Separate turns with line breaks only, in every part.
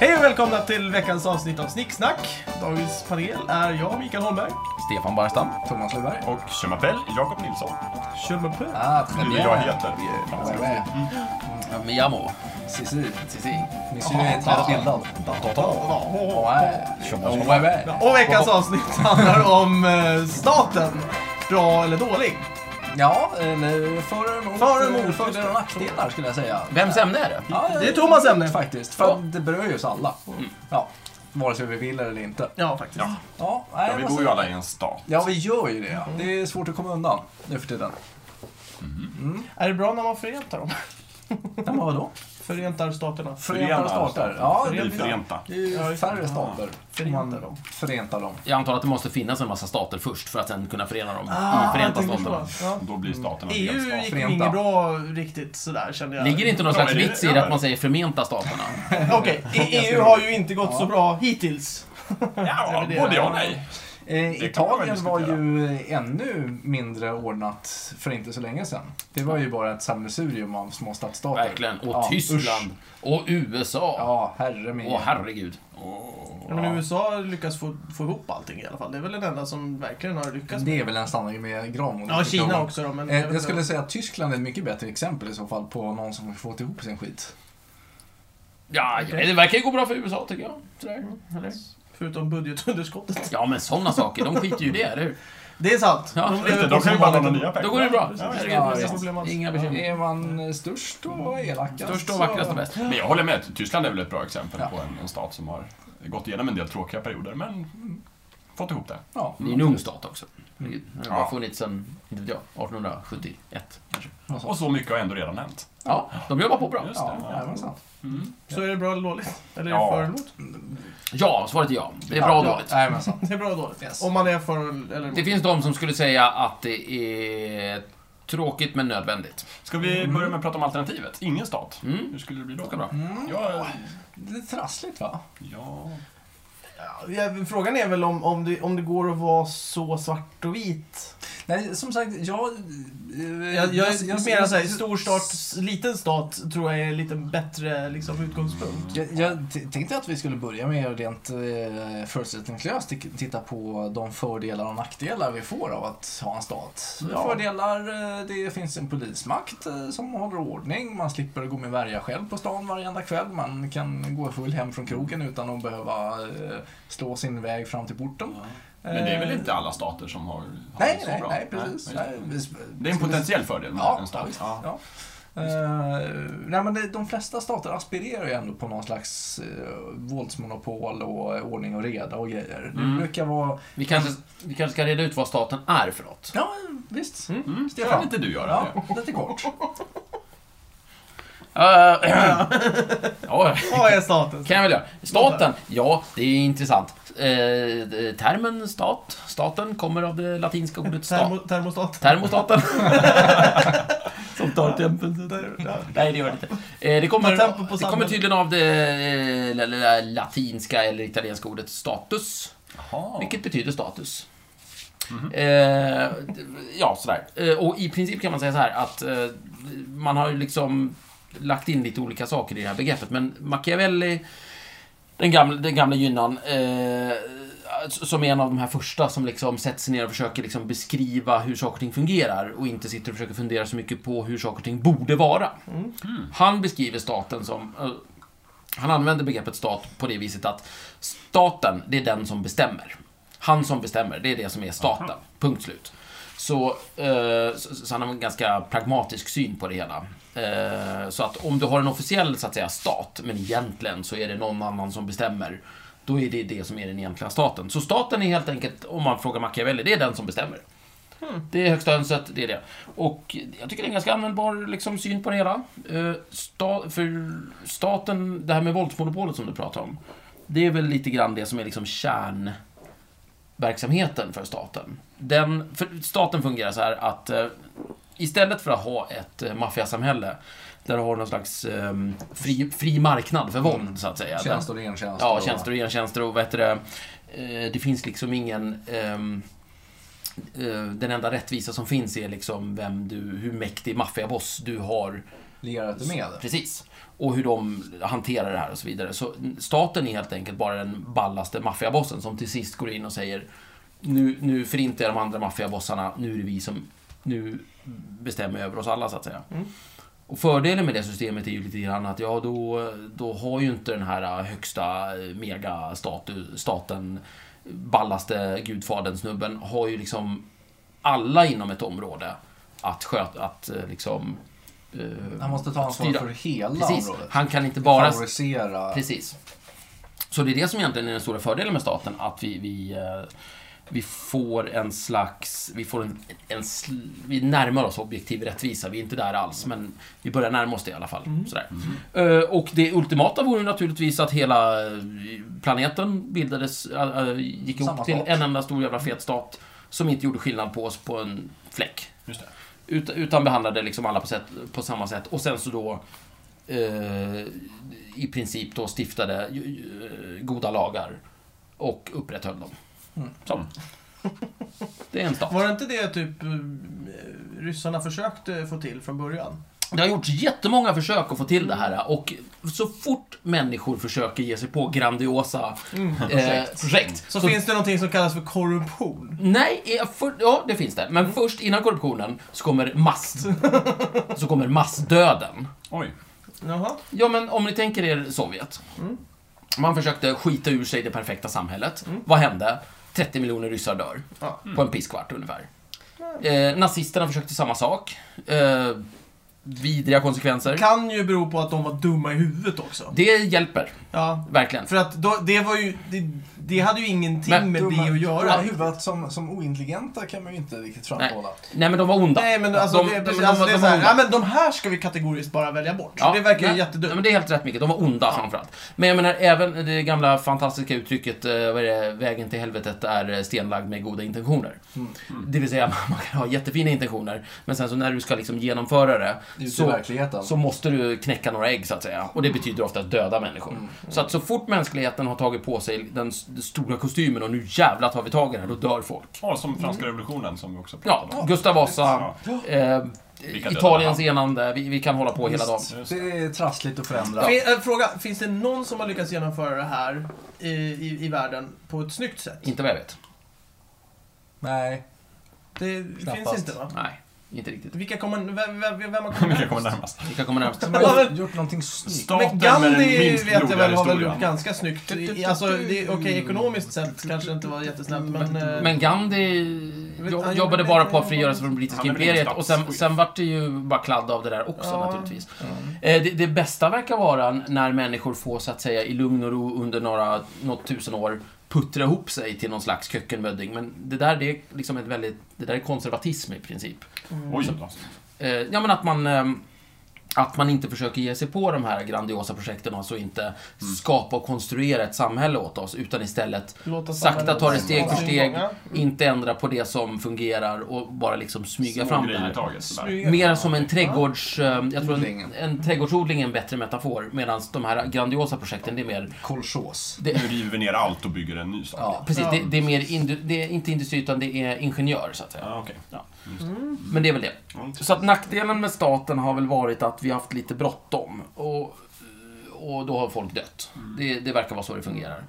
Hej och välkomna till veckans avsnitt av Snicksnack. Dagens panel är jag, Mikael Holmberg.
Stefan Barstam.
Thomas Luberg.
Och je m'appelle Jakob Nilsson.
Kör med på.
Ah,
Eller jag heter. franska.
Mm. Miyamo.
Sissi. Sissi. Nyss ju är tvärsbildad.
Och veckans avsnitt handlar om eh, staten. Bra eller dålig?
Ja, eller för och emot.
För och emot,
eh,
just
Fördelar
det.
och nackdelar skulle jag säga.
Vems ämne är det?
Ja,
Det är Thomas ämne.
Faktiskt, för att det berör ju oss alla. Ja, vare sig vi vill eller inte.
Ja, faktiskt.
Ja.
Ja, nej,
Ja, vi
vad
bor ju
säger-
alla i en stat.
Ja, vi gör ju det. ja. Det är svårt att komma undan nu för tiden.
Är det bra när man föräntar dem?
Ja, men vadå?
Föräntar staterna.
Förentade stater.
stater.
Ja, det
Vi
blir bra.
förenta.
Det är ju färre stater.
Förentar
Man
dem.
Förentar dem.
Jag antar att det måste finnas en massa stater först för att sen kunna förena dem
Ah,
i
jag
Förenta
tänker så.
Staterna.
Ja.
Då blir staten en
EU gick
delstat.
väl
Förenta.
inget bra riktigt sådär kände jag.
Ligger det inte någon
Ja,
slags
det är-
vits i
ja.
det att man säger Förmenta Staterna?
Okej, i- EU har ju inte gått så bra hittills.
Ja,
det är
både
det.
ja och nej.
Eh,
Det kan man väl
Italien var
diskutera.
ju ännu mindre ordnat för inte så länge sedan. Det var ju bara ett sammelsurium av små stadsstater.
Verkligen. Och
Ja,
Tyskland.
usch.
Och USA.
Ja, herre min.
Åh, herregud.
Ja, men USA lyckas få, få ihop allting i alla fall. Det är väl den enda som verkligen har lyckats.
det är väl en sanning med gran
Ja, Kina också då. Men
Eh, jag skulle säga att Tyskland är ett mycket bättre exempel i så fall på någon som har fått ihop sin skit.
Ja, ja, det verkar ju gå bra för USA, tycker jag. Sådär.
Mm,
Eller?
Förutom budgetunderskottet.
Ja, men sådana saker, de skiter ju i det, eller hur?
Det är sant.
Ja.
De lever på
Inte, Då kan
som
ju bara låna
vanligt.
nya pengar.
Då går det bra.
Ja,
Det är
det
inga-
är
ja,
problem alls.
Inga bekymmer.
Är man eh, störst och elakast
Störst och vackrast och
så-
bäst.
Men jag håller med. Tyskland är väl ett bra exempel
Ja.
på en, en stat som har gått igenom en del tråkiga perioder, men fått ihop det.
Ja,
Det är ju en ung stat också. Den har
Ja.
funnits sedan, inte vet jag, 1871 kanske.
och så.
Och så mycket har ändå redan hänt.
Ja, de jobbar på bra.
Just
Ja,
det.
ja, men
Ja.
sant.
Så är det bra eller dåligt? Eller är det
Ja.
för eller emot?
Ja, svaret är ja. Det är bra och
ja,
dåligt.
Nej, men sant.
Det är bra och dåligt.
Yes.
Om man är för eller emot.
Det finns de som skulle säga att det är tråkigt men nödvändigt.
Ska vi börja med att prata om alternativet? Ingen stat.
Mm.
Hur skulle det bli då?
Ska bra.
Ja,
Det är trassligt va?
ja.
Ja, Frågan är väl om, om, det, om det går att vara så svart och vit?
Nej, som sagt, jag... eh,
Jag, jag, menar såhär, stor stat, s- liten stat tror jag är en lite bättre liksom, utgångspunkt.
Jag, jag t- tänkte att vi skulle börja med att rent eh, förutsättningslöst t- titta på de fördelar och nackdelar vi får av att ha en stat.
Ja.
Fördelar, eh, det finns en polismakt eh, som håller ordning, man slipper gå med värja själv på stan varenda kväll, man kan gå full hem från krogen utan att behöva eh, slå sin väg fram till porten.
Men det är väl
Eh,
inte alla stater som har, har
Nej,
det så
nej,
bra?
nej, precis.
Nej,
Nej,
just
vi-
Det är en
ska vi-
potentiell fördel med
Ja,
en
ja,
stat.
visst. Ja. Eh, nej, men det, de flesta stater aspirerar ju ändå på någon slags eh, våldsmonopol och eh, ordning och reda och grejer. Det
Mm.
brukar vara...
Vi kanske, vi kanske ska reda ut vad staten är för något.
Ja, visst.
Mm,
Stefan.
Kan inte du göra
Ja,
det?
lite kort.
Eh, ja,
Vad är staten?
kan jag väl göra. Staten, ja, det är intressant. Eh, termen stat, staten kommer av det latinska ordet stat.
Termo, termostat?
Termostaten.
Som tar tempen. Ja.
Nej, det gör det inte. Eh, det, kommer,
Ta tempo på
det kommer
samhället.
tydligen av det eh, la- la- la- latinska eller italienska ordet status.
Jaha.
Vilket betyder status. Eh, ja, sådär. Eh, och i princip kan man säga så här att eh, man har ju liksom lagt in lite olika saker i det här begreppet, men Machiavelli, den gamla, den gamla gynnan, eh, som är en av de här första som liksom sätter sig ner och försöker liksom beskriva hur saker och ting fungerar och inte sitter och försöker fundera så mycket på hur saker och ting borde vara. Han beskriver staten som eh, han använder begreppet stat på det viset att staten, det är den som bestämmer. Han som bestämmer, det är det som är staten. Punkt slut. Så, eh, så, så han har en ganska pragmatisk syn på det hela. Eh, så att om du har en officiell så att säga, stat, men egentligen så är det någon annan som bestämmer, då är det det som är den egentliga staten. Så staten är helt enkelt, om man frågar Machiavelli, det är den som bestämmer. Det är högsta hönset, det är det. Och jag tycker det är en ganska användbar liksom, syn på det hela. Eh, sta, för staten, det här med våldsmonopolet som du pratar om, det är väl lite grann det som är liksom kärnverksamheten för staten. Den, för staten fungerar så här att eh, istället för att ha ett eh, maffiasamhälle där du har någon slags eh, fri, fri marknad för våld, så att säga. Den-
Tjänst och ren tjänst.
Ja, tjänster och gentjänster och vad heter det? Eh, Det finns liksom ingen... ehm, eh, Den enda rättvisa som finns är liksom vem du, hur mäktig maffiaboss du har
lierade med.
Precis. Och hur de hanterar det här och så vidare. Så staten är helt enkelt bara den ballaste maffiabossen som till sist går in och säger nu, nu förintar jag de andra maffiabossarna, nu är det vi som nu bestämmer över oss alla så att säga. Och fördelen med det systemet är ju lite grann att ja, då, då har ju inte den här högsta eh, megastaten, ballaste gudfadern-snubben, har ju liksom alla inom ett område att sköta, att eh, liksom... eh,
Han måste ta ansvar
styra.
för hela
Precis,
området.
han kan inte bara...
Favorisera.
Precis. Så det är det som egentligen är den stora fördelen med staten, att vi, vi, eh, vi får en slags... Vi, får en, en, sl- vi närmar oss objektiv rättvisa, vi är inte där alls, men vi börjar närma oss det i alla fall. Sådär. Eh, Och det ultimata vore naturligtvis att hela eh, planeten bildades, eh, eh, gick ihop
Samma
till
stat.
en enda stor jävla fet stat som inte gjorde skillnad på oss på en fläck.
Just det.
Ut- Utan behandlade liksom alla på, sätt, på samma sätt. Och sen så då eh, i princip då stiftade ju- ju- goda lagar och upprätthöll dem. Så. Det är en stat.
Var det inte det typ eh, ryssarna försökte få till från början?
Det har gjorts jättemånga försök att få till det här och så fort människor försöker ge sig på grandiosa eh, projekt
Så, finns det någonting som kallas för korruption.
Nej, eh, för, ja det finns det. Men först innan korruptionen så kommer mass... så kommer massdöden.
Oj.
Jaha.
Ja, men om ni tänker er Sovjet. Man försökte skita ur sig det perfekta samhället. Vad hände? 30 miljoner ryssar dör.
Ja.
På en pisskvart ungefär. Eh, nazisterna försökte samma sak. Eh, vidriga konsekvenser.
Kan ju bero på att de var dumma i huvudet också.
Det hjälper,
Ja.
verkligen.
För att då, det var ju, det, det hade ju ingenting
Men-
med det att
Ja,
göra.
huvudet som, som ointelligenta kan man ju inte riktigt framhålla.
Nej, men de var onda.
Nej men alltså,
De-
det,
de-
precis,
de-
alltså
de-
det är
de
så här,
onda.
ja men de här ska vi kategoriskt bara välja bort.
Ja,
det verkar ju
nej, nej,
jättedumt.
men det är helt rätt Micke, de var onda framförallt. Men jag menar även det gamla fantastiska uttrycket, eh, vad är det, vägen till helvetet är eh, stenlagd med goda intentioner.
Mm.
Det vill säga, man kan ha jättefina intentioner, men sen så när du ska liksom genomföra
Ute
det
i
så,
verkligheten.
så måste du knäcka några ägg så att säga. Och det betyder ofta att döda människor.
Mm.
Så att så fort mänskligheten har tagit på sig den s- den stora kostymen och nu jävlar tar vi tag i det här, då dör folk.
Ja, som franska revolutionen som vi också pratade om.
Ja, Gustav Vasa, eh,
döda
Italiens
han?
enande, vi, vi kan hålla på hela dagen.
Just det.
Det är trassligt att förändra.
Fin, äh, fråga, finns det någon som har lyckats genomföra det här i, i, i världen på ett snyggt sätt?
Inte vad jag vet.
Nej.
Det
Knappast.
finns inte va?
Nej, inte riktigt.
Vilka kommer, vem, vem, vem har kommit
Vilka
närmast?
kommer närmast?
Vilka kommer närmast?
De
Ja,
har
men-
gjort någonting snyggt.
Staten
Men
med den
Gandhi
minst
vet jag väl
blodiga
har väl
historien.
gjort ganska snyggt. I- Alltså, det- okej, ekonomiskt sett kanske det inte var jättesnällt, men... eh,
Men Gandhi
vet,
jo-
han
jobbade
gjorde
bara
det-
på att frigöra sig från det brittiska
Ja, men det är
imperiet
en
och sen,
statschef.
sen vart det ju bara kladd av det där också
Ja.
naturligtvis.
Mm.
Eh, Det, det bästa verkar vara när människor får så att säga i lugn och ro under några, något tusen år puttra ihop sig till någon slags kökkenmödding. Men det där det är liksom ett väldigt, det där är konservatism i princip.
Oj då.
Eh, Ja men att man ehm, att man inte försöker ge sig på de här grandiosa projekten och alltså inte
Mm.
skapa och konstruera ett samhälle åt oss utan istället
Låta
sakta
samhället
ta det steg för
skapa
steg,
ingångar.
Mm.
inte ändra på det som fungerar och bara liksom smyga
Små
fram det
grejer i
här.
taget. sådär.
Snygga.
Mer som en trädgårds... eh, Jag tror en,
Odlingen.
en trädgårdsodling är en bättre metafor medan de här grandiosa projekten det är mer...
Kolchos.
Det,
Nu river vi ner allt och bygger en ny stad.
Ja.
precis,
Ja.
det, det är mer... indu- det är inte industri utan det är ingenjör så att säga.
Ja, okej.
Ja. Men det är väl det. Så att nackdelen med staten har väl varit att vi har haft lite bråttom. Och, och då har folk dött. Det, det verkar vara så det fungerar.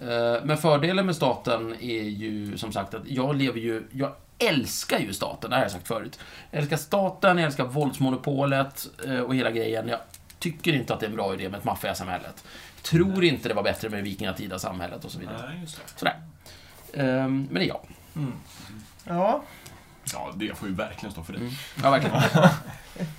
Eh, Men fördelen med staten är ju som sagt att jag lever ju, jag älskar ju staten, det här har jag sagt förut. Jag älskar staten, jag älskar våldsmonopolet eh, och hela grejen. Jag tycker inte att det är en bra idé med ett maffiasamhället. Tror inte det var bättre med vikingatida samhället och så vidare.
Nej, just det.
Sådär. Eh, Men det är jag.
Ja.
Ja, det får ju verkligen stå för dig.
Ja, verkligen.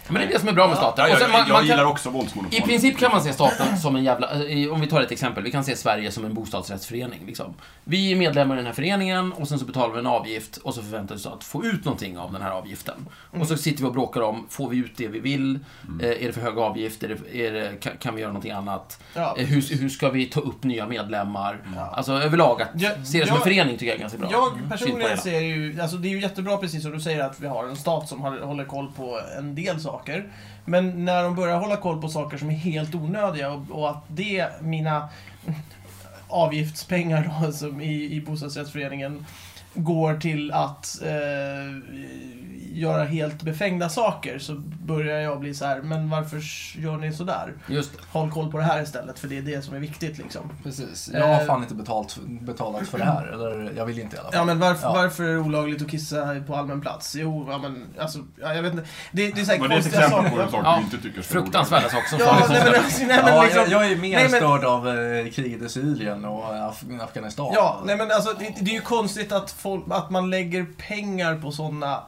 Men det är det som är bra med staten.
Ja,
Och
jag,
sen
jag,
man- man kan-
gillar också våldsmonopol.
I princip kan man se staten som en jävla... eh, i- Om vi tar ett exempel. Vi kan se Sverige som en bostadsrättsförening. Liksom. Vi är medlemmar i den här föreningen och sen så betalar vi en avgift och så förväntar vi oss att få ut någonting av den här avgiften. Och
Mm.
så sitter vi och bråkar om, får vi ut det vi vill? Eh, är det för hög avgift? Är det, är det, kan, kan vi göra någonting annat?
Ja.
Eh, hur, hur ska vi ta upp nya medlemmar? Alltså överlag, att
Jag-
se det som en
jag-
förening tycker jag är ganska bra.
Jag
Syn på det
personligen
hela.
ser ju, alltså det är ju jättebra precis som du säger att vi har en stat som har- håller koll på en del saker. Men när de börjar hålla koll på saker som är helt onödiga och, och att det, mina avgiftspengar då, som i, i bostadsrättsföreningen går till att eh, göra helt befängda saker så börjar jag bli så här, men varför gör ni sådär?
Just det.
Håll koll på det här istället, för det är det som är viktigt liksom.
Precis. Jag har
Eh,
fan inte betalt, betalat för det här. Eller jag vill inte i alla fall.
Ja, men varför,
Ja.
varför är det olagligt att kissa på allmän plats? Jo, ja, men alltså, ja, jag vet inte. Det, det är säkert
Var det ett
konstiga
exempel på en
saker.
sak
Ja.
du inte tycker ska vara olagligt?
Fruktansvärda saker som
Ja, nej men,
ja,
alltså, nej, men
Ja,
liksom,
jag, jag är mer
Nej, men-
störd av eh, kriget i Syrien och Af- Afghanistan.
Ja, nej men alltså det, det är ju konstigt att, folk, att man lägger pengar på sådana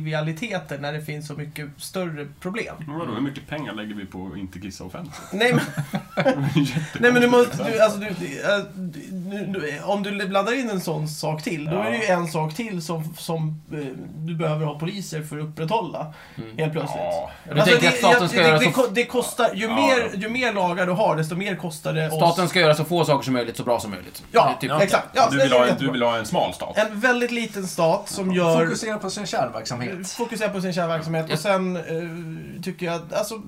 trivialiteter när det finns så mycket större problem.
Men vadå, hur mycket pengar lägger vi på att inte kissa offentligt?
Nej men,
Jättekonstigt
nej, men du måste,
exempel.
du, alltså, du, du, äh, du, du, om du blandar in en sån sak till, då är det ju en sak till som, som eh, du behöver ha poliser för att upprätthålla
Mm.
helt plötsligt.
Ja,
Du tänker att staten ska
Alltså, det,
göra
det,
så...
ko- det kostar, ju,
Ja.
mer, ju mer lagar du har, desto mer kostar det
Staten
oss.
ska göra så få saker som möjligt så bra som möjligt. Typ. Det
Ja,
är
exakt. Ja,
du,
det
vill
är
ha en,
jättebra.
du vill ha en smal stat?
En väldigt liten stat som gör...
Fokusera på sin
Mm.
kärnverksamhet.
Fokusera på sin kärnverksamhet och sen eh, tycker jag, alltså,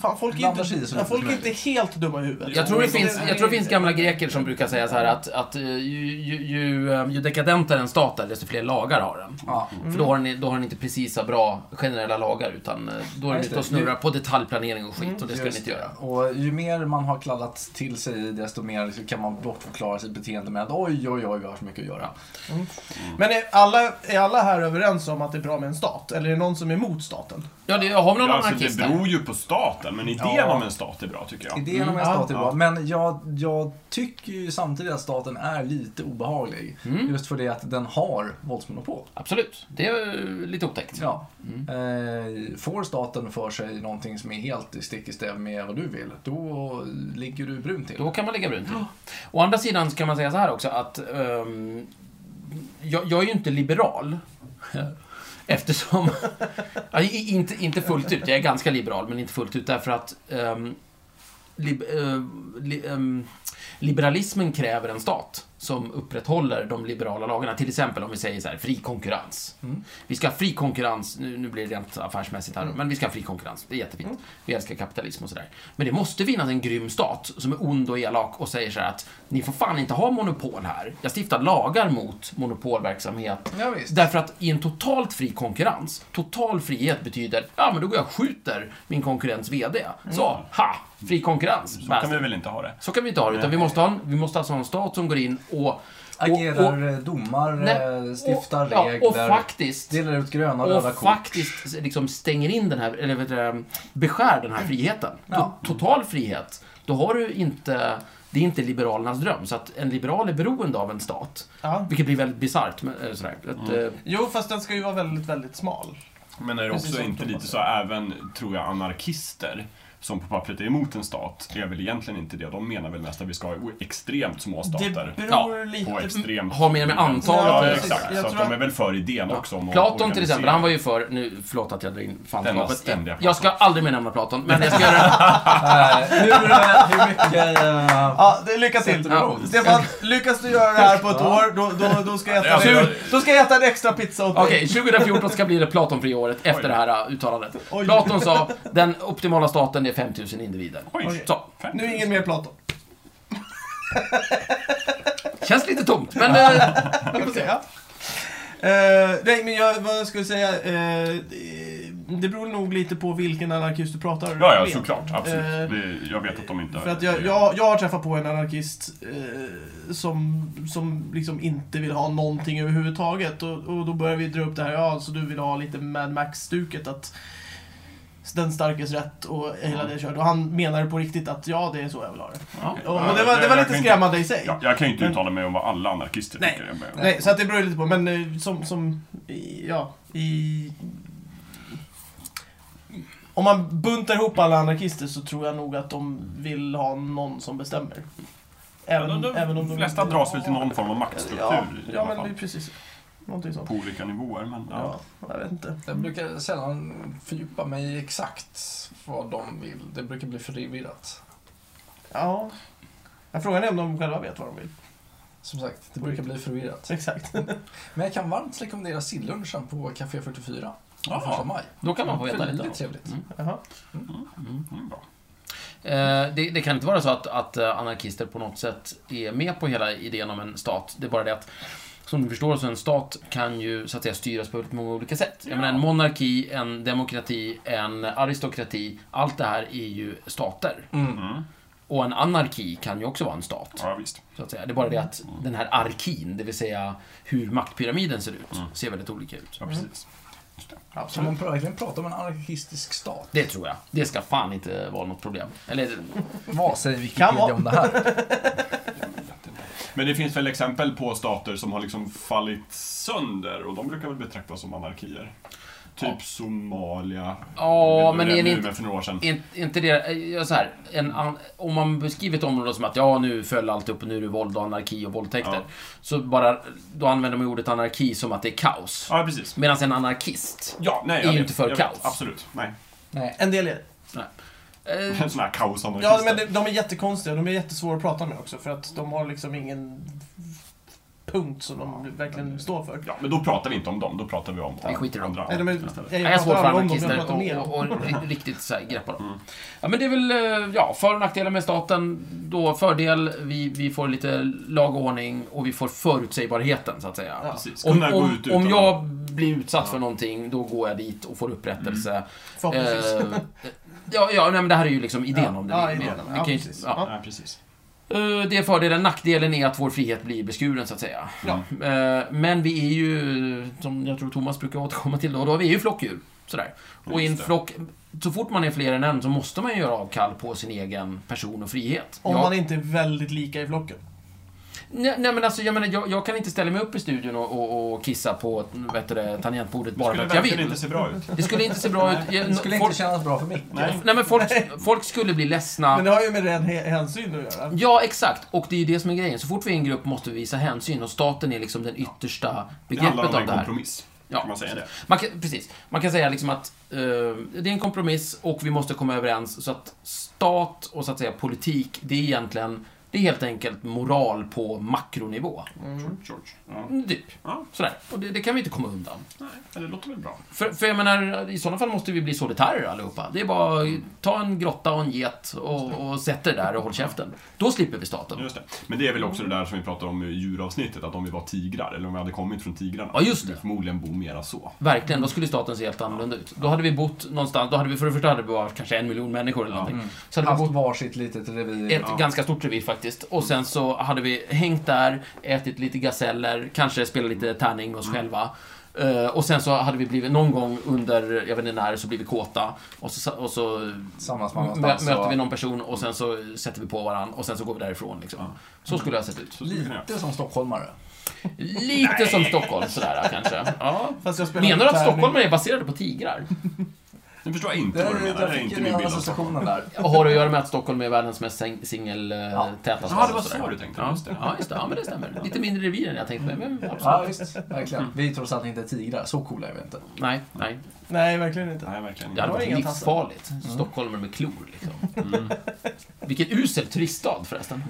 fan, folk är
Blandar sig i så
inte,
mycket
folk
som
är inte helt dumma i huvudet.
Jag tror, det finns, jag tror det finns gamla greker som brukar säga så här att, att eh, ju, ju, ju, eh, ju dekadentare en stat är, desto fler lagar har den.
Ja.
För då har den, då har den inte precis så bra generella lagar, utan eh, då är den
Ja, just
ute och
det.
snurrar på detaljplanering och skit, och det ska den
Just
inte göra.
Och ju mer man har kladdat till sig desto mer liksom kan man bortförklara sitt beteende med att oj, oj, oj, vi har så mycket att göra.
Men är alla, är alla här överens om att det är bra med en stat? Eller är det någon som är emot staten?
Ja, det, har vi någon
Ja, alltså, det
anarkist där?
beror ju på staten, men idén
Ja.
om en stat är bra tycker jag.
Idén om en
Mm,
stat är
ja,
bra,
ja.
men jag, jag tycker ju samtidigt att staten är lite obehaglig.
Mm.
Just för det att den har våldsmonopol.
Absolut. Det är eh, lite otäckt.
Ja. Eh, får staten för sig någonting som är helt i stick i stäv med vad du vill, då ligger du brunt till.
Då kan man lägga brunt till. Å andra sidan så kan man säga så här också att ehm, jag, jag är ju inte liberal. Eftersom... Ja, i- inte, inte fullt ut. Jag är ganska liberal, men inte fullt ut därför att ehm, lib, eh, li, ehm, liberalismen kräver en stat som upprätthåller de liberala lagarna. Till exempel om vi säger så här, fri konkurrens.
Mm.
Vi ska ha fri konkurrens, nu, nu blir det rent affärsmässigt här, men vi ska ha fri konkurrens. Det är jättefint.
Mm.
Vi älskar kapitalism och sådär. Men det måste finnas en grym stat som är ond och elak och säger så här att ni får fan inte ha monopol här. Jag stiftar lagar mot monopolverksamhet.
Ja, visst.
Därför att i en totalt fri konkurrens, total frihet betyder, ja men då går jag och skjuter min konkurrents VD.
Mm.
Så, ha! Fri konkurrens.
Så kan vi väl inte ha det?
Så kan vi inte ha det, utan vi måste, ha en, vi måste alltså ha en stat som går in och... och och-
Agerar eh, domar,
nej,
eh, stiftar
och, ja,
regler,
och faktiskt...
delar ut gröna och röda
Och
kort.
faktiskt liksom stänger in den här, eller vet du, det, beskär den här friheten. To-
Ja.
Total frihet. Då har du inte, det är inte liberalernas dröm. Så att en liberal är beroende av en stat.
Ja.
Vilket blir väldigt bisarrt. men, eh, sådär. Att,
Mm.
eh,
Jo, fast den ska ju vara väldigt, väldigt smal.
Men är det
Precis
också
som
inte
Thomas
lite så, även tror jag anarkister som på pappret är emot en stat, är väl egentligen inte det. De menar väl mest att vi ska ha extremt små stater.
Det beror
På
lite...
extremt...
Har mer med antalet
Ja,
Ja,
precis.
exakt.
Jag
Så att
tror
de är väl för idén också om att
Platon till
organisera.
exempel, han var ju för, nu, förlåt att jag drar in
Denna
fanskapet.
ständiga
Jag ska aldrig mer nämna Platon, men jag ska göra det.
Eh, hur, hur mycket... eh,
Ja, det, lycka till.
Sätter du emot?
Stefan, lyckas du göra det här på ett år, då, då, då, ska jag
Ja,
äta,
men-
då ska jag äta en extra pizza åt dig.
Okej, 2014 ska bli det Platonfria året efter det här eh, uttalandet.
Oj.
Platon sa, den optimala staten är 5000 individer.
Oj,
Så.
fem
Nu är
tusen.
ingen mer Platon.
Känns lite tomt, men... eh,
Okej, ja. Eh, nej, men jag, vad jag skulle säga, eh, det beror nog lite på vilken anarkist du pratar
Ja, ja,
med.
såklart. Absolut.
Eh,
Det- jag vet att de inte...
För att jag, jag, jag har träffat på en anarkist eh, som, som liksom inte vill ha någonting överhuvudtaget. Och, och då börjar vi dra upp det här, ja, så du vill ha lite Mad Max-stuket att den starkes rätt och hela det köret. Och han menar på riktigt att ja, det är så jag vill ha det.
Ja, okej.
Och,
Ja,
och det var, det var
jag
lite
kan inte-
skrämmande i sig.
Ja, jag kan ju inte
Men-
uttala mig om vad alla anarkister
Nej.
tycker. Jag menar-
Nej, så att det beror lite på. Men eh, som, som i- ja, i... Om man buntar ihop alla anarkister så tror jag nog att de vill ha någon som bestämmer. Även,
de, de,
även om de
flesta
inte-
dras väl till någon form av maktstruktur
Ja,
i
ja
alla
men det
fall.
är precis. Någonting sånt.
På olika nivåer, men ja.
Ja, jag vet inte.
Jag brukar sällan fördjupa mig i exakt vad de vill. Det brukar bli förvirrat.
Ja. Jag frågar är om de själva vet vad de vill.
Som sagt, det
På
brukar
riktigt.
bli förvirrat.
Exakt.
Men jag kan varmt rekommendera sillunchen på Café 44 den
Ja.
första maj.
Då kan man få veta lite.
Väldigt trevligt.
Mm.
Jaha.
Mm.
Mm, bra.
Eh, det, det kan inte vara så att, att eh, anarkister på något sätt är med på hela idén om en stat. Det är bara det att som du förstår så en stat kan ju så att säga styras på väldigt många olika sätt. Jag menar en monarki, en demokrati, en aristokrati. Allt det här är ju stater.
Mm.
Och en anarki kan ju också vara en stat.
Ja, Mm. visst.
Så att säga. Det är bara det att den här arkin, det vill säga hur maktpyramiden ser ut,
Mm.
ser väldigt olika ut.
Ja, precis. Just det.
Kan man verkligen prata om en anarkistisk stat?
Det tror jag. Det ska fan inte vara något problem. Eller,
Vad säger
Kan vara.
Wikipedia om det här?
Men det finns väl exempel på stater som har liksom fallit sönder och de brukar väl betraktas som anarkier. Typ Somalia.
ja,
Nu-
men
nu-
är det
men
inte...
för några år sedan.
Är inte det, eh, ja, så här, en, an- om man beskriver ett område som att ja, nu föll allt upp och nu är det våld och anarki och våldtäkter.
Ja.
Så bara, då använder man ju ordet anarki som att det är kaos.
Ja, precis.
Medan en anarkist,
Ja, nej,
Är ju
jag vet.
inte för
Jag
kaos.
Vet, absolut. Nej.
Nej.
En del är
eh,
En sån här kaosanarkister.
Ja, men de- de är jättekonstiga. De är jättesvåra att prata med också för att de har liksom ingen punkt som de verkligen står för.
Ja, men då pratar vi inte om dem, då pratar vi om
Vi skiter i dem.
andra.
Nej, de är,
jag
jag
har svårt
pratar
för
aldrig om dem, jag
anarkister
pratar med
och,
dem.
och, och riktigt så här, greppar dem.
Mm.
Ja, men det är väl eh, ja, för och nackdelar med staten. Då fördel, vi, vi får lite lag och ordning och vi får förutsägbarheten så att säga.
Ja.
Precis.
Om,
Kunna gå
om,
ut utan...
om jag blir utsatt för någonting, då går jag dit och får
Mm.
upprättelse.
Förhoppningsvis.
Eh, ja, ja nej, men det här är ju liksom idén
Ja,
om det.
ja,
Vi-
idén.
vi
Ja,
kan ju-
precis.
ja.
Nej, precis.
Eh, Det är fördelen. Nackdelen är att vår frihet blir beskuren, så att säga.
Ja.
Eh, Men vi är ju, som jag tror Thomas brukar återkomma till, då, då är vi ju flockdjur. Sådär. Och i en
Just det.
flock, så fort man är fler än en så måste man ju göra avkall på sin egen person och frihet.
Om
Jag-
man inte är väldigt lika i flocken.
Nej, nej men alltså, jag menar, jag, jag kan inte ställa mig upp i studion och, och, och kissa på vet du, det, tangentbordet bara för
Skulle
att jag
verkligen
vill.
inte se bra ut.
Det skulle inte se bra ut. Jag-
Det skulle
folk,
inte kännas bra för mig.
Nej.
nej, men folk, folk skulle bli ledsna.
Men det har ju med ren he- hänsyn att göra.
Ja, exakt. Och det är ju det som är grejen. Så fort vi är en grupp måste vi visa hänsyn och staten är liksom den yttersta
Det
begreppet
handlar om
av
en
det här.
kompromiss.
Ja.
Kan man säga det?
Man kan, precis. Man kan säga liksom att eh, det är en kompromiss och vi måste komma överens så att stat och så att säga politik, det är egentligen, det är helt enkelt moral på makronivå.
George. Ja.
Mm, Typ.
ja,
Sådär. Och det, det kan vi inte komma undan.
nej, men det låter väl bra.
För, för jag menar, i sådana fall måste vi bli solitärer allihopa. Det är bara ta en grotta och en get och, och sätt er där och håll käften. Då slipper vi staten.
Just det. Men det är väl också det där som vi pratade om i djuravsnittet, att om vi var tigrar, eller om vi hade kommit från tigrarna,
Ja, just
skulle vi
det.
förmodligen bo mera så.
Verkligen, då skulle staten se helt annorlunda ut. Då hade vi bott någonstans, då hade vi för det första hade vi varit kanske en miljon människor eller någonting. Så hade vi
Haft
bott
varsitt litet revir.
i ett ganska stort revir faktiskt. Och sen så hade vi hängt där, ätit lite gaseller, kanske spelat lite tärning med oss själva. Eh, och sen så hade vi blivit någon gång under, jag vet inte när, så blev vi kåta. Och så, och så
Tillsammans med
mö,
någonstans.
möter vi
så-
någon person och sen så sätter vi på varandra och sen så går vi därifrån liksom. Så skulle det ha sett ut.
Så skulle vi kunna göra.
Lite som stockholmare.
Lite som Stockholm sådär kanske. Ja.
Fast jag spelar
Menar du att
tärning.
stockholmare är baserade på tigrar?
Nu förstår jag inte
Där,
vad du menar, det är
där fick
inte
jag
min
den
bild av Stockholm.
associationen där.
Och har att göra med att Stockholm är världens mest säng- singel ja.
Ja.
täta
Jaha, det var så du tänkte,
alltså, Ja,
just det.
ja, just det. Ja, men det stämmer. Lite mindre revir än jag tänkte mig, men absolut.
Ja, visst. Verkligen. Vi är trots allt inte tigrar. Så coola är vi inte.
Nej, nej.
Nej, verkligen inte.
Nej, verkligen
Det
inte.
hade
har
varit
inga
livsfarligt. Stockholmare med klor, liksom. Vilken usel turiststad, förresten.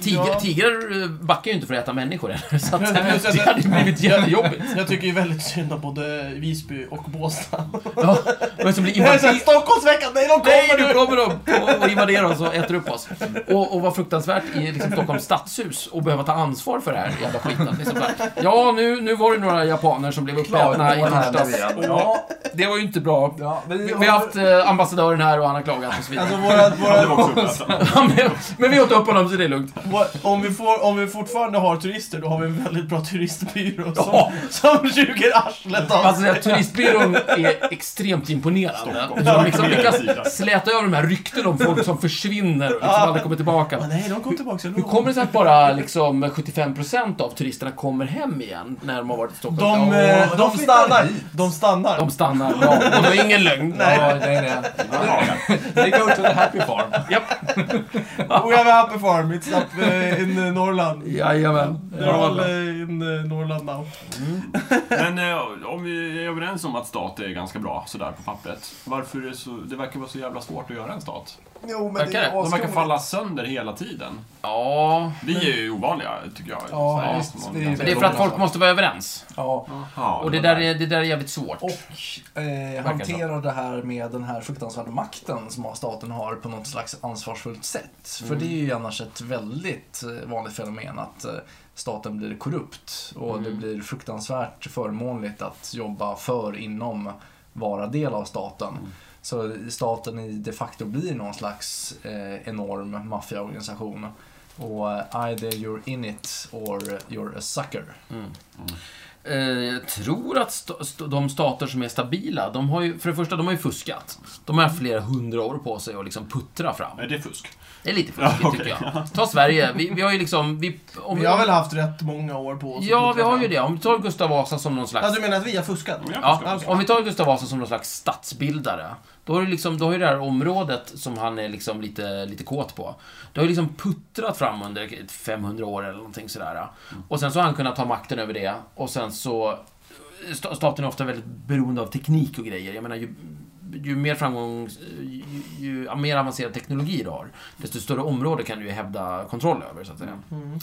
Tiger,
Ja.
Tigrar eh, backar ju inte för att äta människor heller, så att,
Men just att-
det hade ju blivit jättejobbigt.
Jag tycker ju väldigt synd om både Visby och Båstad.
Ja, men så blir
Det är såhär,
invaderade.
Stockholmsveckan, nej de
Nej,
kommer
nu
nu!
kommer de och- och invaderar oss och äter upp oss. Och, och vad fruktansvärt i liksom Stockholms stadshus och behöva ta ansvar för det här jävla skiten. Liksom så här, ja, nu, nu var det några japaner som blev uppätna i
Klagomål här
torsdags.
blev det.
Ja, det var ju inte bra.
Ja,
Vi, vi har haft eh, ambassadören här och han har klagat och så vidare.
Alltså våra,
Ja, det var
våra,
också uppläsande.
Alltså-
men, men vi åt upp honom så det är lugnt.
våra, om, vi får, om vi fortfarande har turister, då har vi en väldigt bra turistbyrå som,
Ja.
som suger arslet av
Alltså den här turistbyrån är extremt imponerande.
Stockholm.
Hur de liksom
Sida.
lyckas släta över de här rykten om folk som försvinner och liksom aldrig kommer
Ja,
tillbaka.
nej, de kom tillbaka.
Hur kommer det sig att bara liksom 75% av turisterna kommer hem igen när de har varit i Stockholm?
De,
Ja,
eh,
de
de
flyttar
stannar.
hit.
De stannar.
de stannar. Ja, och det var ingen lögn.
Nej. Ja, nej, nej.
Ja,
They go to the happy farm.
Japp.
We have a happy farm. It's up eh, in eh, Norrland.
Jajamän.
They're all eh, in eh, Norrland now.
Men eh, om vi är överens om att stat är ganska bra sådär på pappret, varför är det så, det verkar vara så jävla svårt att göra en stat?
Jo, men
Verkar
det
det?
är
De verkar
askul.
falla sönder hela tiden.
Ja.
Vi är ju ovanliga, tycker jag.
Ja,
Så här,
visst,
som
vi-
ganska-
Men det är för att folk måste vara överens.
Ja,
Aha,
Och det där är, det där är jävligt svårt.
och eh, hantera det här med den här fruktansvärda makten som staten har på något slags ansvarsfullt sätt. För det är ju annars ett väldigt eh, vanligt fenomen att eh, staten blir korrupt och det blir fruktansvärt förmånligt att jobba för, inom, vara del av staten. Så staten i de facto blir någon slags eh, enorm maffiaorganisation. Och eh, either you're in it or you're a sucker.
Mm. Eh, Jag tror att sta- st- de stater som är stabila, de har ju, för det första, de har ju fuskat. De har haft flera hundra år på sig att liksom puttra fram.
Är det fusk?
Det är lite fuskigt,
Ja, okej.
tycker jag. Ta Sverige, vi, vi har ju liksom... Vi, om,
Vi har väl haft rätt många år på oss. att
Ja, vi
puttra
har
fram.
ju det. Om vi tar Gustav Vasa som någon slags...
Ja, du menar att vi har fuskat?
Ja.
Ja,
Gustav Vasa.
om vi tar Gustav Vasa som någon slags statsbildare. Då har, du liksom, då har ju det här området som han är liksom lite, lite kåt på. Det har ju liksom puttrat fram under 500 år eller någonting sådär. Och sen så har han kunnat ta makten över det. Och sen så... sta- Staten är ofta väldigt beroende av teknik och grejer. Jag menar, ju, ju mer framgång... Ju, ju ja, mer avancerad teknologi du har, desto större område kan du ju hävda kontroll över, så att säga.
Mm.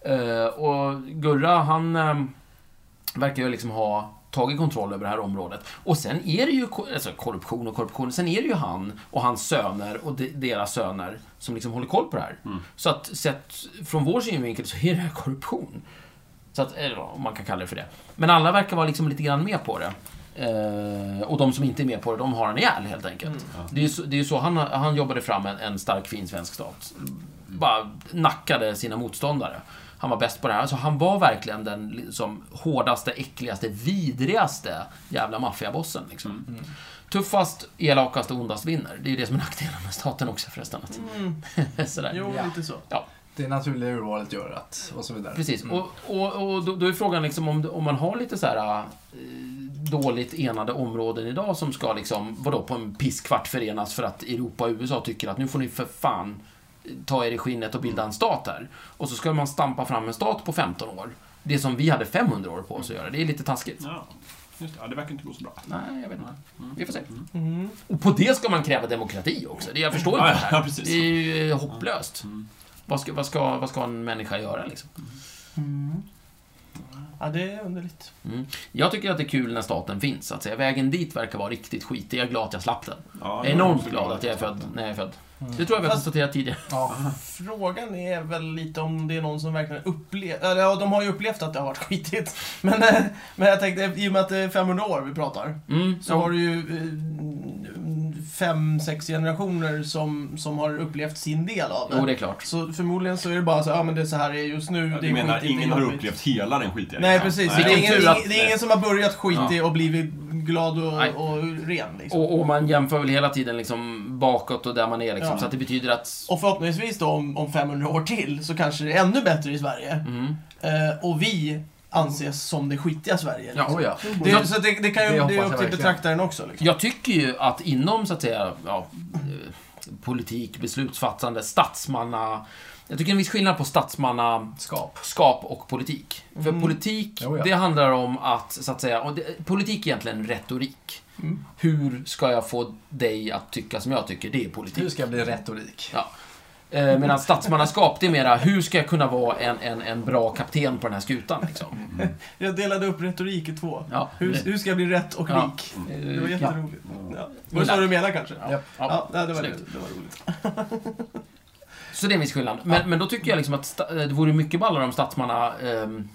Eh, och Gurra, han eh, verkar ju liksom ha tagit kontroll över det här området. Och sen är det ju ko- alltså, korruption och korruption. Sen är det ju han och hans söner och de, deras söner som liksom håller koll på det här. Så att sett från vår synvinkel så är det här korruption. Så att, eller vad man kan kalla det för det. Men alla verkar vara liksom lite grann med på det. Eh, och de som inte är med på det, de har han ihjäl helt enkelt. Det är ju så, det är ju så han, han jobbade fram en, en stark fin svensk stat. Bara nackade sina motståndare. Han var bäst på det här. Alltså, han var verkligen den liksom, hårdaste, äckligaste, vidrigaste jävla maffiabossen. Liksom. Tuffast, elakast och ondast vinner. Det är ju det som är nackdelen med staten också förresten. Att... Sådär.
Jo,
Ja.
lite så.
Ja,
Det naturliga urvalet gör att, och så vidare.
precis.
Mm.
Och, och, och då, då är frågan liksom om, om man har lite så här eh, dåligt enade områden idag som ska liksom, vadå, på en pisskvart förenas för att Europa och USA tycker att nu får ni för fan äh, ta er i skinnet och
Mm.
bilda en stat här. Och så ska man stampa fram en stat på 15 år. Det som vi hade 500 år på oss att göra. Det är lite taskigt.
Ja, just det. Ja, det verkar inte gå så bra.
Nej, jag vet inte. Vi får se.
Mm.
Och på det ska man kräva demokrati också. Det jag förstår inte
Ja, Mm.
det
ja,
här.
precis.
Det är ju eh, hopplöst. Vad ska, vad, ska, vad ska en människa göra liksom?
Ja, det är underligt.
Mm. Jag tycker att det är kul när staten finns, så att säga. Vägen dit verkar vara riktigt skitig. Jag är glad att jag slapp den.
Ja,
Jag är enormt glad att jag är född när jag är född. Det tror jag vi har konstaterat tidigare.
Ja,
Frågan är väl lite om det är någon som verkligen upplevt... Eller ja, de har ju upplevt att det har varit skitigt. Men, eh, men jag tänkte, i och med att det är 500 år vi pratar.
Mm.
Så har du ju eh, fem, sex generationer som, som har upplevt sin del av det.
Jo, det är klart.
Så förmodligen så är det bara så, ja men det är så här det är just nu.
Ja,
det
du
är
menar,
skitigt, det är
ingen har
jobbigt.
upplevt hela den liksom. skitiga
Nej
resan?
pretur.
Nej.
Det är ingen,
Tur att-
det är ingen som har börjat skitig och blivit glad
Nej.
och, och ren. Liksom.
Och, och man jämför väl hela tiden liksom bakåt och där man är
Ja.
liksom. Så att det betyder att...
Och förhoppningsvis då om, om 500 år till så kanske det är ännu bättre i Sverige.
Mm.
Eh, och vi anses som det skitiga Sverige.
Ja.
Liksom.
oh ja.
Det, så det, det kan ju
Det
det
hoppas
är
jag
upp till
verkligen.
betraktaren också. Liksom.
Jag tycker ju att inom, så att säga, ja, eh, politik, beslutsfattande, statsmanna... Jag tycker en viss skillnad på statsmanna...
Skap.
skap och politik. För
Mm.
politik,
Jo, ja.
det handlar om att, så att säga, och det, politik är egentligen retorik.
Mm.
Hur ska jag få dig att tycka som jag tycker? Det är
Du
politik.
ska bli retorik.
Ja. Eh, Medan statsmannaskap, det är mera, hur ska jag kunna vara en, en, en bra kapten på den här skutan? Liksom?
Jag delade upp retorik i två.
Ja.
Hur,
det-
hur ska jag bli rätt och
Ja.
lik?
eh,
Det var
ja.
jätteroligt. Ja. Var det så du menade kanske? Ja,
Japp.
Ja.
nej, det, var
Snyggt.
det, det var roligt.
Så det är en viss skillnad. Men, men då tycker jag liksom att sta- eh, det vore mycket ballare om statsmanna... ehm,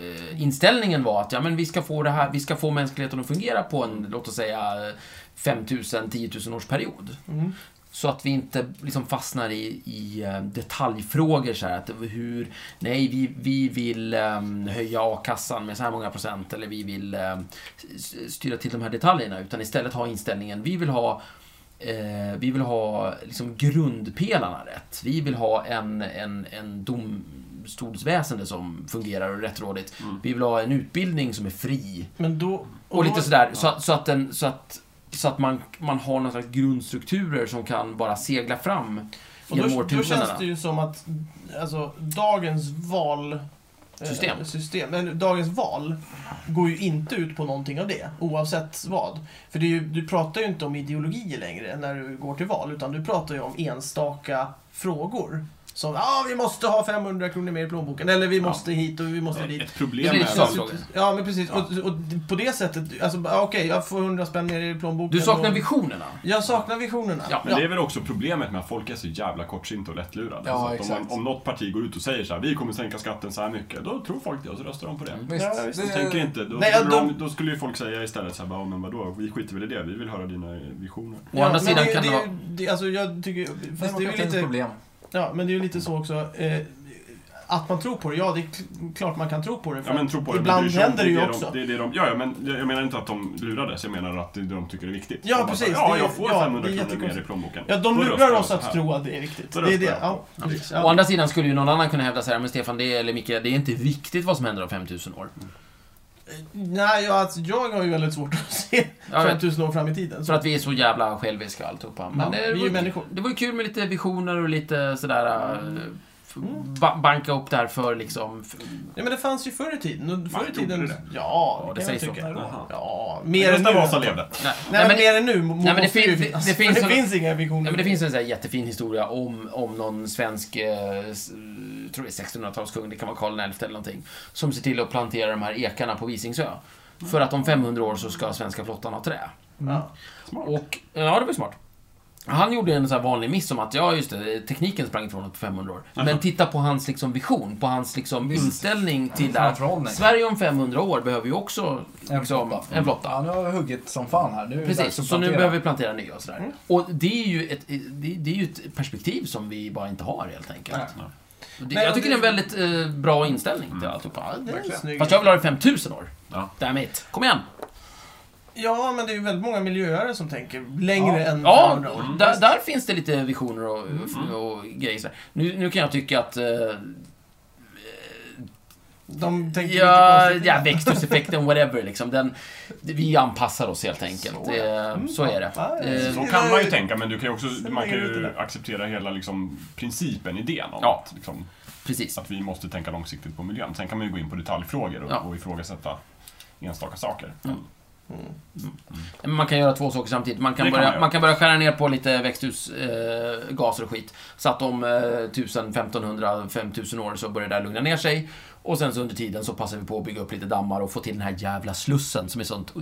eh, inställningen var att ja, men vi ska få det här, vi ska få mänskligheten att fungera på en, låt oss säga, eh, 5000, 10 000 års period.
Mm.
Så att vi inte liksom fastnar i, i eh, detaljfrågor så här, att hur, nej vi, vi vill ehm, höja a-kassan med så här många procent eller vi vill ehm, s- styra till de här detaljerna utan istället ha inställningen, vi vill ha Eh, vi vill ha liksom grundpelarna rätt. Vi vill ha en, en, en domstolsväsende som fungerar och rättrådigt. Vi vill ha en utbildning som är fri.
Men då...
Och, lite sådär, så, att- så att, den, så att, så att man, man har några slags grundstrukturer som kan bara segla fram
Och då,
genom
då känns
årtusendena.
det ju som att alltså, dagens val eh,
System.
system. Men dagens val går ju inte ut på någonting av det, oavsett vad. För det är ju, du pratar ju inte om ideologier längre när du går till val, utan du pratar ju om enstaka frågor. Som ah, vi måste ha 500 kronor mer i plånboken, eller vi måste hit och vi måste dit.
Ett problem
Det
är
blir
Så att-
så.
väl...
Ja, men precis. Och, och på det sättet, alltså, bara, okej, jag får 100 spänn mer i plånboken.
Du saknar
och-
visionerna.
Jag saknar visionerna.
Ja,
Men det är väl också problemet med att folk är så jävla kortsynta och lättlurade.
Ja,
Så att om,
exakt.
man, om något parti går ut och säger så här, vi kommer sänka skatten så här mycket, då tror folk det och så röstar de på
Mm.
det.
Visst,
Ja, visst,
De tänker inte, då,
Nej,
då,
de-
då skulle ju folk säga istället så här, "Ja, men vadå, vi skiter väl i det, vi vill höra dina visioner.
Å andra
men
sidan
det,
kan det
det,
vara...
det, alltså, jag tycker, fast det är ju
demokratins
lite,
problem.
ja, men det är ju lite så också. Eh, att man tror på det, ja det är kl- klart man kan tro på det. för
Ja, men tro på det,
ibland
men bryr sig om-
händer det ju
är
också.
De, det är det de, ja, ja, men jag jag menar inte att de lurades, jag menar att det är det de tycker är viktigt.
Ja,
de bara så här,
precis,
Ja,
det är-
jag får
ja,
500
det är
kronor mer i
jättekonstigt.
plånboken.
ja, de
Då röstar
lurar
jag
oss
så här.
att tro att det är viktigt.
Då
Det är
röstar
det.
jag
Ja,
på.
precis.
Å
Ja.
andra sidan skulle ju någon annan kunna hävda så här, men Stefan det är, eller Micke, det är inte viktigt vad som händer om 5000 år.
Nej, jag, alltså, jag har ju väldigt svårt att se
Ja, men-
5000 år fram i tiden.
För
Så.
att vi är så jävla själviska alltihopa. Men
Ja,
det,
vi är ju
var,
människor. Mm.
det var ju kul med lite visioner och lite sådär... eh, f- Ba banka upp där för liksom... f-
Ja, men det fanns ju förr i tiden. och Förr i
gjorde
tiden...
det?
Ja,
Ja,
det,
det
kan jag
sägs så.
tycka.
Jaha.
Ja,
Men
mer än nu.
Gustav Vasa
Nej,
levde.
Nej,
men mer än nu. Nej,
men det fin- det- det finns
finns,
en-
det finns inga visioner.
Nej, men det finns en sån här jättefin historia om, om någon svensk, eh, s- tror det är 1600-talskung, det kan vara Karl XI eller någonting, som ser till att plantera de här ekarna på Visingsö. För att om 500 år så ska svenska flottan ha trä.
Ja.
Och, ja, det var smart. Han gjorde en sån här vanlig miss om att, ja just det, tekniken sprang ifrån oss på 500 år. Men titta på hans liksom vision, på hans liksom inställning till det här.
Framförhållning.
Sverige om 500 år behöver ju också
En
liksom,
flotta.
en flotta.
Ja, nu har vi huggit som fan här. Nu är det dags att
Precis, så nu
plantera.
behöver vi plantera nya och
Mm.
sådär. Och det är, ju ett, eh, det, det är ju ett perspektiv som vi bara inte har helt enkelt.
Nej.
Och Det,
Men
jag tycker det
det-
är en väldigt eh, bra inställning till alltihopa.
Ja, det är en snygg. Mm.
Fast jag vill ha det 5000 år.
Ja.
Damn it. Kom igen.
Ja, men det är ju väldigt många miljöare som tänker längre än
Ja,
500 år.
där, där finns det lite visioner och, och grejer sådär. Nu, nu kan jag tycka att... Eh,
De tänker
ja,
lite
ja, växthuseffekten, whatever liksom. Den, vi anpassar oss helt enkelt.
Så, ja.
Eh,
Mm. Mm.
så är det.
Ja,
Eh,
Så kan man ju tänka, men du kan ju också,
Sen
man kan
lägger du ut
ju
det.
acceptera hela liksom, principen, idén om
Ja.
att, liksom,
precis.
att vi måste tänka långsiktigt på miljön. Sen kan man ju gå in på detaljfrågor och,
Ja.
och ifrågasätta enstaka saker. Men,
Men Man kan göra två saker samtidigt. Man kan,
Det kan
börja, man,
man göra.
kan börja skära ner på lite växthusgaser eh, gaser och skit. Så att om eh, 1000, 1500, 5000 år så börjar det där lugna ner sig. Och sen så under tiden så passar vi på att bygga upp lite dammar och få till den här jävla slussen som är sånt...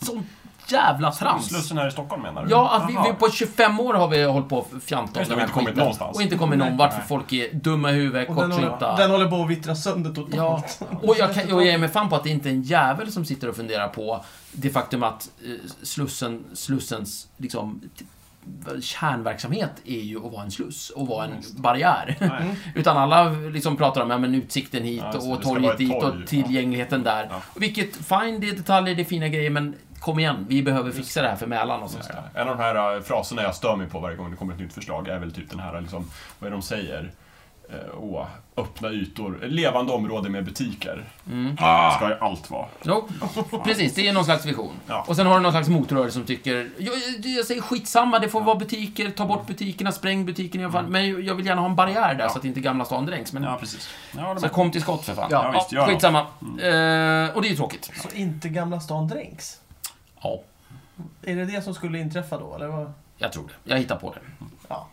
Sånt jävla trams!
Slussen här i Stockholm menar du?
Ja, att vi,
Jaha.
vi på 25 år har vi hållit på och fjantat
Just
den
det, vi
här
har inte kommit
skiten.
någonstans.
Och inte kommit någon vart, för
nej.
folk är dumma i huvudet,
Och den, håller,
kortsynta.
den håller på att vittra sönder totalt.
Ja, och jag, kan, och jag ger mig fan på att det inte är en jävel som sitter och funderar på det faktum att eh, slussen, slussens liksom, t- kärnverksamhet är ju att vara en sluss och vara en barriär.
Nej.
Utan alla liksom pratar om ja, men utsikten hit
Ja, just det,
och
det ska
torget
vara ett
dit
torg,
och
ja.
tillgängligheten där.
Ja.
Vilket, fine, det är detaljer, det är fina grejer, men kom igen, vi behöver fixa det här för Mälaren och
Just
sådär.
det. En av de här eh, fraserna jag stör mig på varje gång det kommer ett nytt förslag är väl typ den här, liksom, vad är det de säger? Eh, åh, öppna ytor, levande område med butiker.
Mm.
Ah. Ska ju allt vara.
Jo, precis. Det är någon slags vision.
Ja.
Och sen har du någon slags motrörelse som tycker, jag, jag- jag säger skitsamma, det får vara butiker, ta bort butikerna, spräng butiken i alla fall. Men jag vill gärna ha en barriär där
Mm. Ja.
så att inte Gamla stan dränks. Men
precis. Ja,
så kom till skott för fan.
Ja,
visst, gör Mm.
skitsamma. Eh, och det är ju tråkigt.
Så inte Gamla stan dränks?
Ja,
Är det det som skulle inträffa då, eller vad?
jag tror det. Jag hittar på det.
Ja.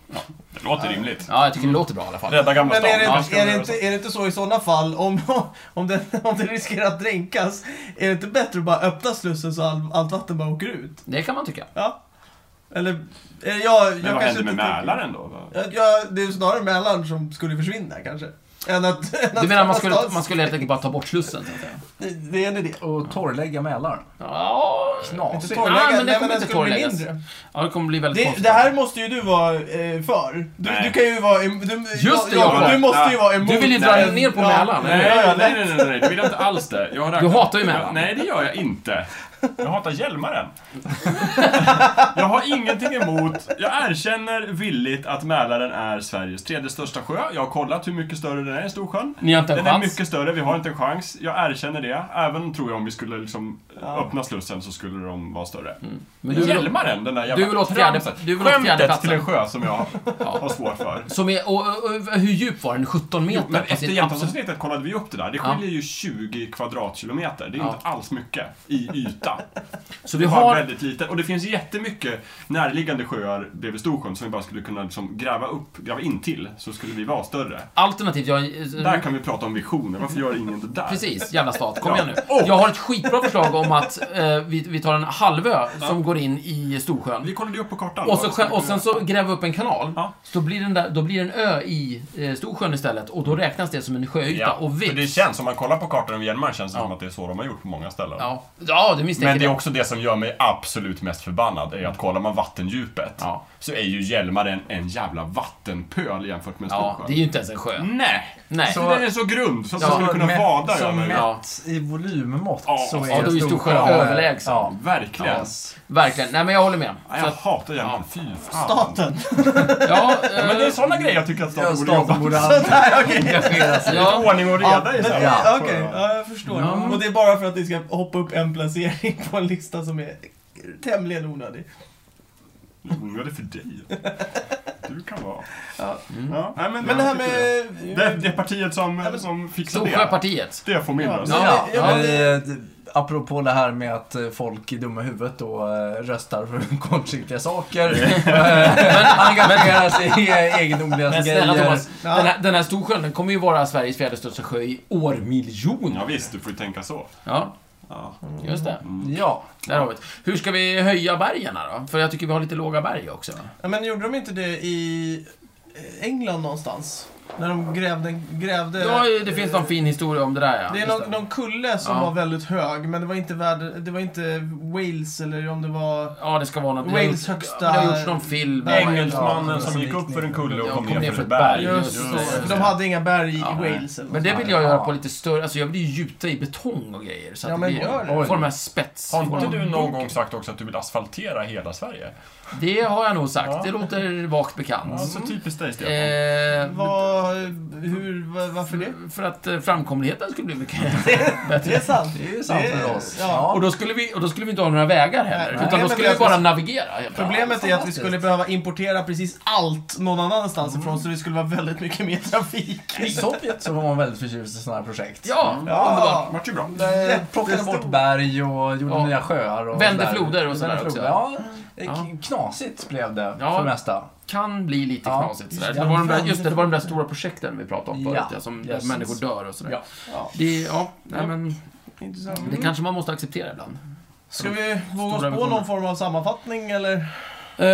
det låter rimligt.
Ja, jag tycker det låter bra i alla fall.
Rädda Gamla
Men är
stan.
det,
Mm. Ja, ska
är, det
vi
inte,
göra så.
är det inte så i sådana fall, om, om, den, om den riskerar att dränkas, är det inte bättre att bara öppna slussen så all, allt vatten bara åker ut?
Det kan man tycka.
Ja. Eller, eh, jag,
Men
jag
vad
kanske
händer med
inte tänker-
Mälaren då? Vad-
Ja, ja, det är ju snarare Mälaren som skulle försvinna kanske. Än att, än
Du
att
menar man
Gamla
skulle,
stan-
man skulle helt enkelt bara ta bort Slussen? Så att säga.
Det, det är en idé.
Och torrlägga Mälaren.
Ja,
Inte
Knasigt.
torr-
torrlägga,
men det
nej,
kommer
men den
inte
skulle bli
torrläggas.
mindre.
ja, det kommer bli väldigt
Det,
konstigt.
det här måste ju du vara eh, för. Du,
Nej.
du kan ju vara em, du,
Just det,
Jakob,
Jakob.
Du måste ju vara emot.
Du vill ju dra
den-
ner på
ja.
Mälaren, eller?
Nej, nej, nej, nej, nej, det vill jag inte alls det. Jag har räknat-
hatar ju Mälaren.
Nej, det gör jag inte. Jag hatar Hjälmaren. Jag har ingenting emot, jag erkänner villigt att Mälaren är Sveriges tredje största sjö. Jag har kollat hur mycket större den är än Storsjön.
Ni har inte en
Den är
chans.
mycket större, vi har inte en chans. Jag erkänner det. Även tror jag om vi skulle liksom öppna slussen så skulle de vara större.
Mm. Men du, vill-
Hjälmaren, den där
du vill
jävla
åt fjärde- du
tramset.
vill åt fjärde
Skämtet
platsen.
till en sjö som jag har
ja.
svårt för.
Som är, och, och, och, hur djup var den? 17 meter?
Men
Fast det
efter
är absolut-
Jämtlandsavsnittet kollade vi upp det där. Det
Ja.
skiljer ju 20 kvadratkilometer. Det är
Ja.
inte alls mycket i yta.
Så
Vi
vi
har
har...
väldigt lite. Och det finns jättemycket närliggande sjöar bredvid Storsjön som vi bara skulle kunna liksom gräva upp, gräva in till, så skulle vi vara större.
Mm. Alternativt, jag...
Där kan vi prata om visioner. Varför gör ingen det där?
Precis, jävla stat. Kom
Ja.
igen nu. Jag har ett skitbra förslag om att eh, vi, vi tar en halvö som går in i Storsjön.
Vi kollade ju upp på kartan.
Och, så, och sen så gräver vi upp en kanal.
Ja.
Så blir den där, då blir det en ö i eh, Storsjön istället. Och då räknas det som en sjöyta.
Ja,
och
för det
vips.
känns, om man kollar på kartan över Hjälmaren känns det
Ja.
som att det är så de har gjort på många ställen.
Ja, ja du misstänker
Men det är också det som gör mig absolut mest förbannad, är att kollar man vattendjupet
Ja.
så är ju Hjälmaren en jävla vattenpöl jämfört med
Ja,
Storsjön.
det är ju inte ens en
Mm.
sjö.
Nej!
Nej.
Så den är så grund så att man
Ja,
skulle kunna
mätt-
vada
som
över.
Ja.
mätt i volymmått
Ja,
så är
ja, då är ju Storsjön överlägsen.
Ja.
Verkligen.
Yes.
Verkligen. Nej, men jag håller med.
Nej,
Så
jag
att,
hatar Hjälmaren. Fy fan.
Staten.
ja, eh,
Ja, men det är såna grejer jag tycker att
Ja,
staten borde jobba
staten borde
med.
aldrig engagera sig.
ja,
Ordning och reda i så här.
Ja,
Ja.
Okej, ja, jag förstår.
Ja.
Och det är bara för att ni ska hoppa upp en placering på en lista som är tämligen onödig.
Ordning och reda för dig. Du kan vara. Mm.
Ja.
Ja, nej, men,
Men det här
tycker
med...
jag. Det, det partiet som, som fixar det.
Storsjöpartiet.
Det får
Ja,
minnas.
men-
Ja,
ja, men-
Eh, d- Apropå det här med att eh, folk i dumma huvudet då eh, röstar för kortsiktiga saker. Eh, Engagerar sig i eh, egendomliga
Men snälla
grejer.
Thomas, den här, den här Storsjön den kommer ju vara Sveriges fjärde största sjö i årmiljon.
Ja, visst, du får ju tänka så.
Ja,
Ja.
just det.
Ja.
Där har vi det. Hur ska vi höja bergen här då? För jag tycker vi har lite låga berg också.
Ja, men gjorde de inte det i eh, England någonstans? När de grävde... grävde
Ja, det finns någon fin historia om det där ja.
Det är
Just
någon, någon kulle som
Ja.
var väldigt hög, men det var inte, värld, det var inte Wales eller om det var...
Ja, det ska vara något.
Wales
det har gjort-
högsta-
Det har gjorts någon film.
Nej,
Engelsmannen
Ja,
som gick upp för en kulle och
Ja,
kom ner för ett
berg.
berg.
Just,
Just
så.
det,
För
just
de
det.
hade inga berg i
Ja,
Wales eller något sånt
Men det
där.
vill jag göra på lite större, alltså jag vill ju gjuta i betong och grejer. Så att
Ja, men
det blir,
gör
det.
får de här spets...
Har inte du någon gång sagt också att du vill asfaltera hela Sverige?
Det har jag nog sagt,
Ja.
det låter vagt bekant.
Ja, så typiskt dig, Stefan.
Eh,
Vad, hur, vad- varför det?
För att eh, framkomligheten skulle bli mycket...
Det är sant.
Det är ju sant för oss.
Ja.
Och då, skulle vi, och då skulle vi inte ha några vägar heller,
Nej,
utan då
problemet
skulle
är
vi
att-
bara navigera. helt enkelt.
Problemet är att vi
fantastiskt.
skulle behöva importera precis allt någon annanstans ifrån, så det skulle vara väldigt mycket mer trafik.
I Sovjet så var man väldigt förtjust i sådana här projekt.
Ja, underbart.
Ja.
Vart ju bra.
Eh,
Jättestort.
Plockade bort berg och gjorde
Ja.
nya sjöar. Och
Vände
sådär.
floder och sådär
Vände
också.
floder. Ja, eh,
Ja.
k- knasigt blev det
Ja.
för det mesta.
Kan bli lite
Ja.
knasigt sådär.
Ja,
Det var de där,
väldigt-
just det, det var de där stora projekten vi pratade om förut,
Ja.
ja. som där
Yes.
människor dör och sådär.
Ja.
Ja,
Det, ja, nej, men,
intressant.
det kanske man måste acceptera ibland.
Ska vi våga
Stora
oss på
visioner.
någon form av sammanfattning eller?
Eh,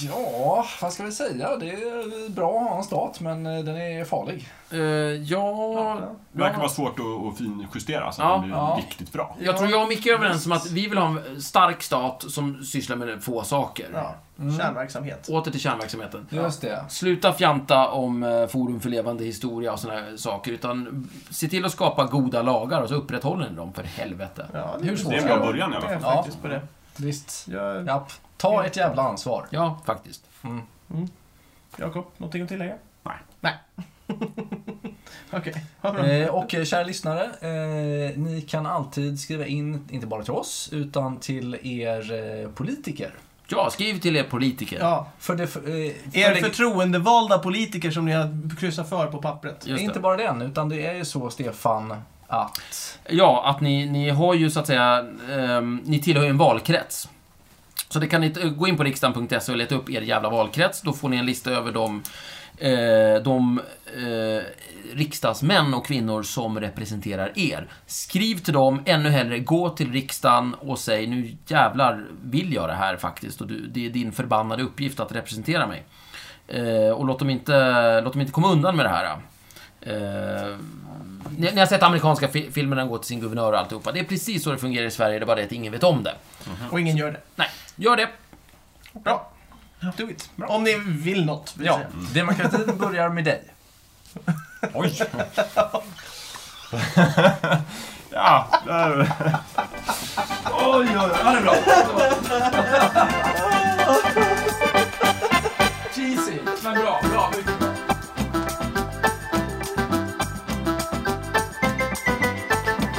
Ja, vad ska vi säga? Det är bra att ha en stat, men eh, den är farlig.
eh, ja...
Det verkar vara svårt att, att finjustera så att
Ja,
det blir
ja.
riktigt bra.
Jag tror jag och Micke är överens om att vi vill ha en stark stat som sysslar med få saker.
Ja, kärnverksamhet.
Åter till kärnverksamheten.
Just det.
Sluta fjanta om eh, Forum för levande historia och såna här saker, utan se till att skapa goda lagar och så upprätthåller ni dem, för helvete.
Ja,
Hur svårt
Det är en
ska
bra
det vara?
början i alla
Jag är
fall.
Ja.
faktiskt på det.
Visst.
Jag,
Mm.
Japp. Ta ett jävla ansvar.
Ja, faktiskt.
Jakob, någonting att tillägga?
Nej.
Nej. Okej, vad bra.
Eh, och eh, kära lyssnare, eh, ni kan alltid skriva in, inte bara till oss, utan till er eh, politiker.
Ja, skriv till er politiker.
Ja,
För det, för, eh, för
er
det,
förtroendevalda politiker som ni har kryssat för på pappret.
Just
inte
det.
bara den, utan det är ju så, Stefan, att...
ja, att ni, ni har ju så att säga, ehm, ni tillhör ju en valkrets. Så det kan ni t- gå in på riksdagen.se och leta upp er jävla valkrets, då får ni en lista över de, eh, de eh, riksdagsmän och kvinnor som representerar er. Skriv till dem, ännu hellre gå till riksdagen och säg nu jävlar vill jag det här faktiskt och du, det är din förbannade uppgift att representera mig. Eh, och låt dem, inte, låt dem inte komma undan med det här. Eh, ni, ni har sett amerikanska fi- filmer när de går till sin guvernör och alltihopa. Det är precis så det fungerar i Sverige, det är bara det att ingen vet om det.
Och ingen gör det.
Nej, gör det.
Bra. Do it. Om ni vill något, vill
Ja,
säga.
demokratin börjar med dig.
Oj! ja, där- Oj, oj, oj. Ja, det är bra.
Cheesy, men bra. bra. mycket bra.